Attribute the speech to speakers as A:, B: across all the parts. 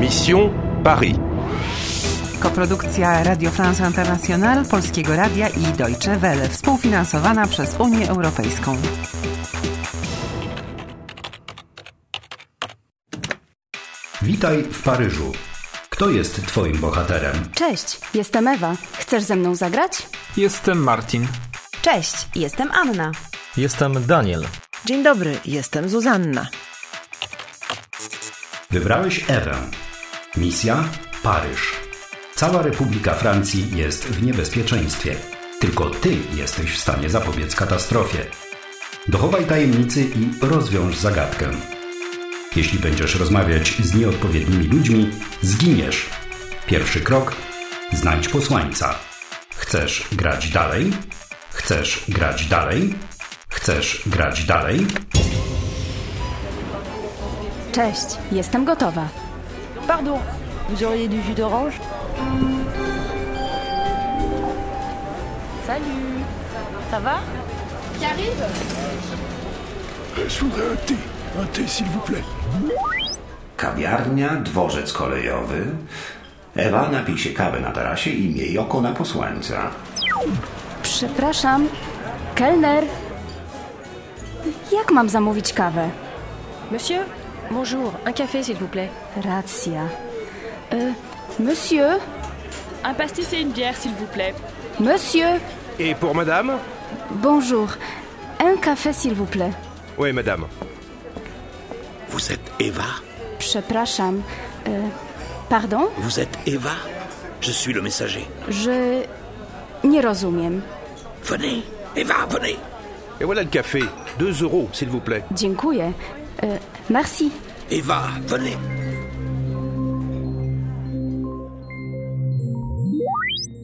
A: Mission Paris.
B: Koprodukcja Radio France International, Polskiego Radia i Deutsche Welle, współfinansowana przez Unię Europejską.
C: Witaj w Paryżu. Kto jest twoim bohaterem?
D: Cześć, jestem Ewa. Chcesz ze mną zagrać?
E: Jestem Martin.
F: Cześć, jestem Anna.
G: Jestem Daniel.
H: Dzień dobry, jestem Zuzanna.
C: Wybrałeś Ewę. Misja Paryż. Cała Republika Francji jest w niebezpieczeństwie. Tylko ty jesteś w stanie zapobiec katastrofie. Dochowaj tajemnicy i rozwiąż zagadkę. Jeśli będziesz rozmawiać z nieodpowiednimi ludźmi, zginiesz. Pierwszy krok: znajdź posłańca. Chcesz grać dalej? Chcesz grać dalej? Chcesz grać dalej?
D: Cześć, jestem gotowa.
I: Pardon, vous auriez du jus d'orange Salut Ça va
J: Je voudrais un thé. Un thé, s'il vous plaît.
K: Kawiarnia, dworzec kolejowy. Ewa napij się kawę na tarasie i miej oko na posłańca.
D: Przepraszam, kelner. Jak mam zamówić kawę?
F: Monsieur, bonjour, un café s'il vous plaît.
D: Racja. Y, monsieur,
I: Un pastis et une bière, s'il vous plaît.
D: monsieur,
A: Et pour madame
D: bonjour. Un café, s'il vous plaît.
A: Oui, madame.
J: Vous êtes Eva
D: Przepraszam. Y, pardon?
J: Vous êtes Eva Je suis le messager.
D: Je nie rozumiem.
J: Venez, Eva, venez
A: Et voilà le café. 2 euros, s'il vous plaît.
D: Dziękuję. Y, merci.
J: Eva, venez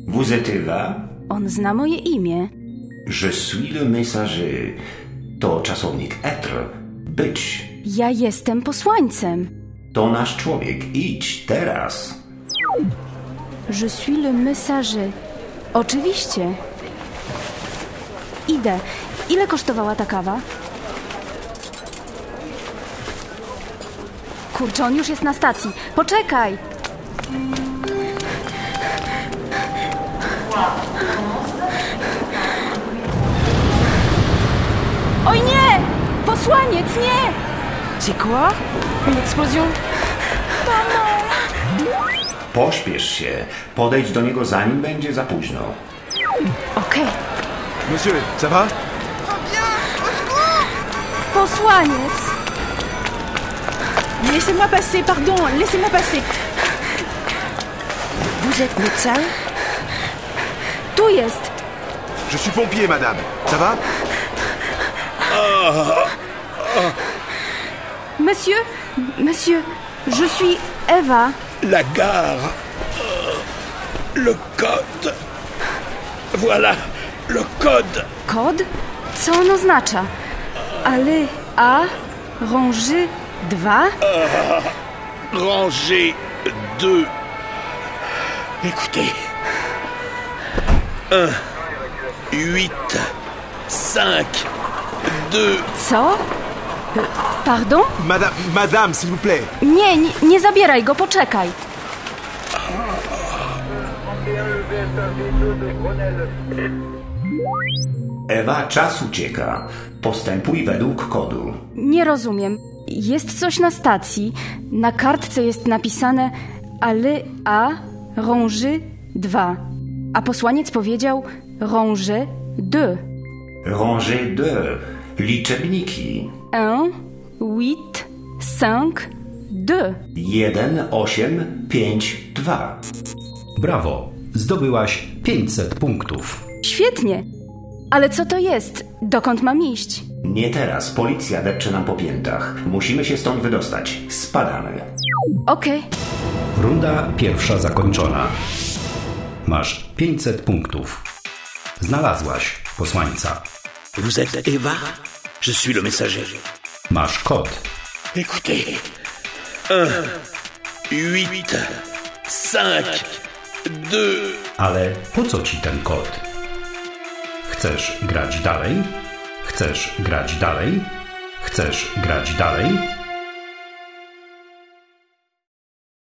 K: Vous êtes Eva?
D: On zna moje imię.
K: Je suis le messager. To czasownik être, być.
D: Ja jestem posłańcem.
K: To nasz człowiek. Idź teraz.
D: Je suis le messager. Oczywiście. Idę. Ile kosztowała ta kawa? Kurczę, on już jest na stacji. Poczekaj! Oj nie! Posłaniec, nie!
H: C'est quoi Une explosion
K: Pośpiesz się. Podejdź do niego zanim będzie za późno.
D: Okej,
A: Monsieur, ça va
D: posłaniec!
I: Laissez-moi passer, pardon, laissez-moi passer.
H: Vous êtes médecin
D: Tu jest!
A: Je suis pompier, madame. Ça va
D: Monsieur, monsieur, je suis Ewa.
J: La gare Euh, Le code Voilà, le code
D: Kod? Co on oznacza? Ale A, rąży 2?
J: Rangée 2. Écoutez. 1, 8, 5, 2.
D: Co? E, Pardon?
A: Madame, madame, s'il vous plaît.
D: Nie, nie, nie zabieraj go, poczekaj.
K: Ewa, czas ucieka. Postępuj według kodu.
D: Nie rozumiem. Jest coś na stacji. Na kartce jest napisane Ale A, rąży 2. A posłaniec powiedział rąży 2.
K: Rangée 2. Liczebniki.
D: 1, 8, 5, 2.
K: 1, 8, 5, 2.
C: Brawo! Zdobyłaś 500 punktów.
D: Świetnie! Ale co to jest? Dokąd mam iść?
K: Nie teraz, policja depcze nam po piętach. Musimy się stąd wydostać. Spadamy.
D: Okej.
C: Runda pierwsza zakończona. Masz 500 punktów. Znalazłaś posłańca.
J: Vous êtes Eva Je suis le messager.
C: Masz kod.
J: Écoutez. 1, 8, 5, 2.
C: Ale po co ci ten kod? Chcesz grać dalej? Chcesz grać dalej? Chcesz grać dalej?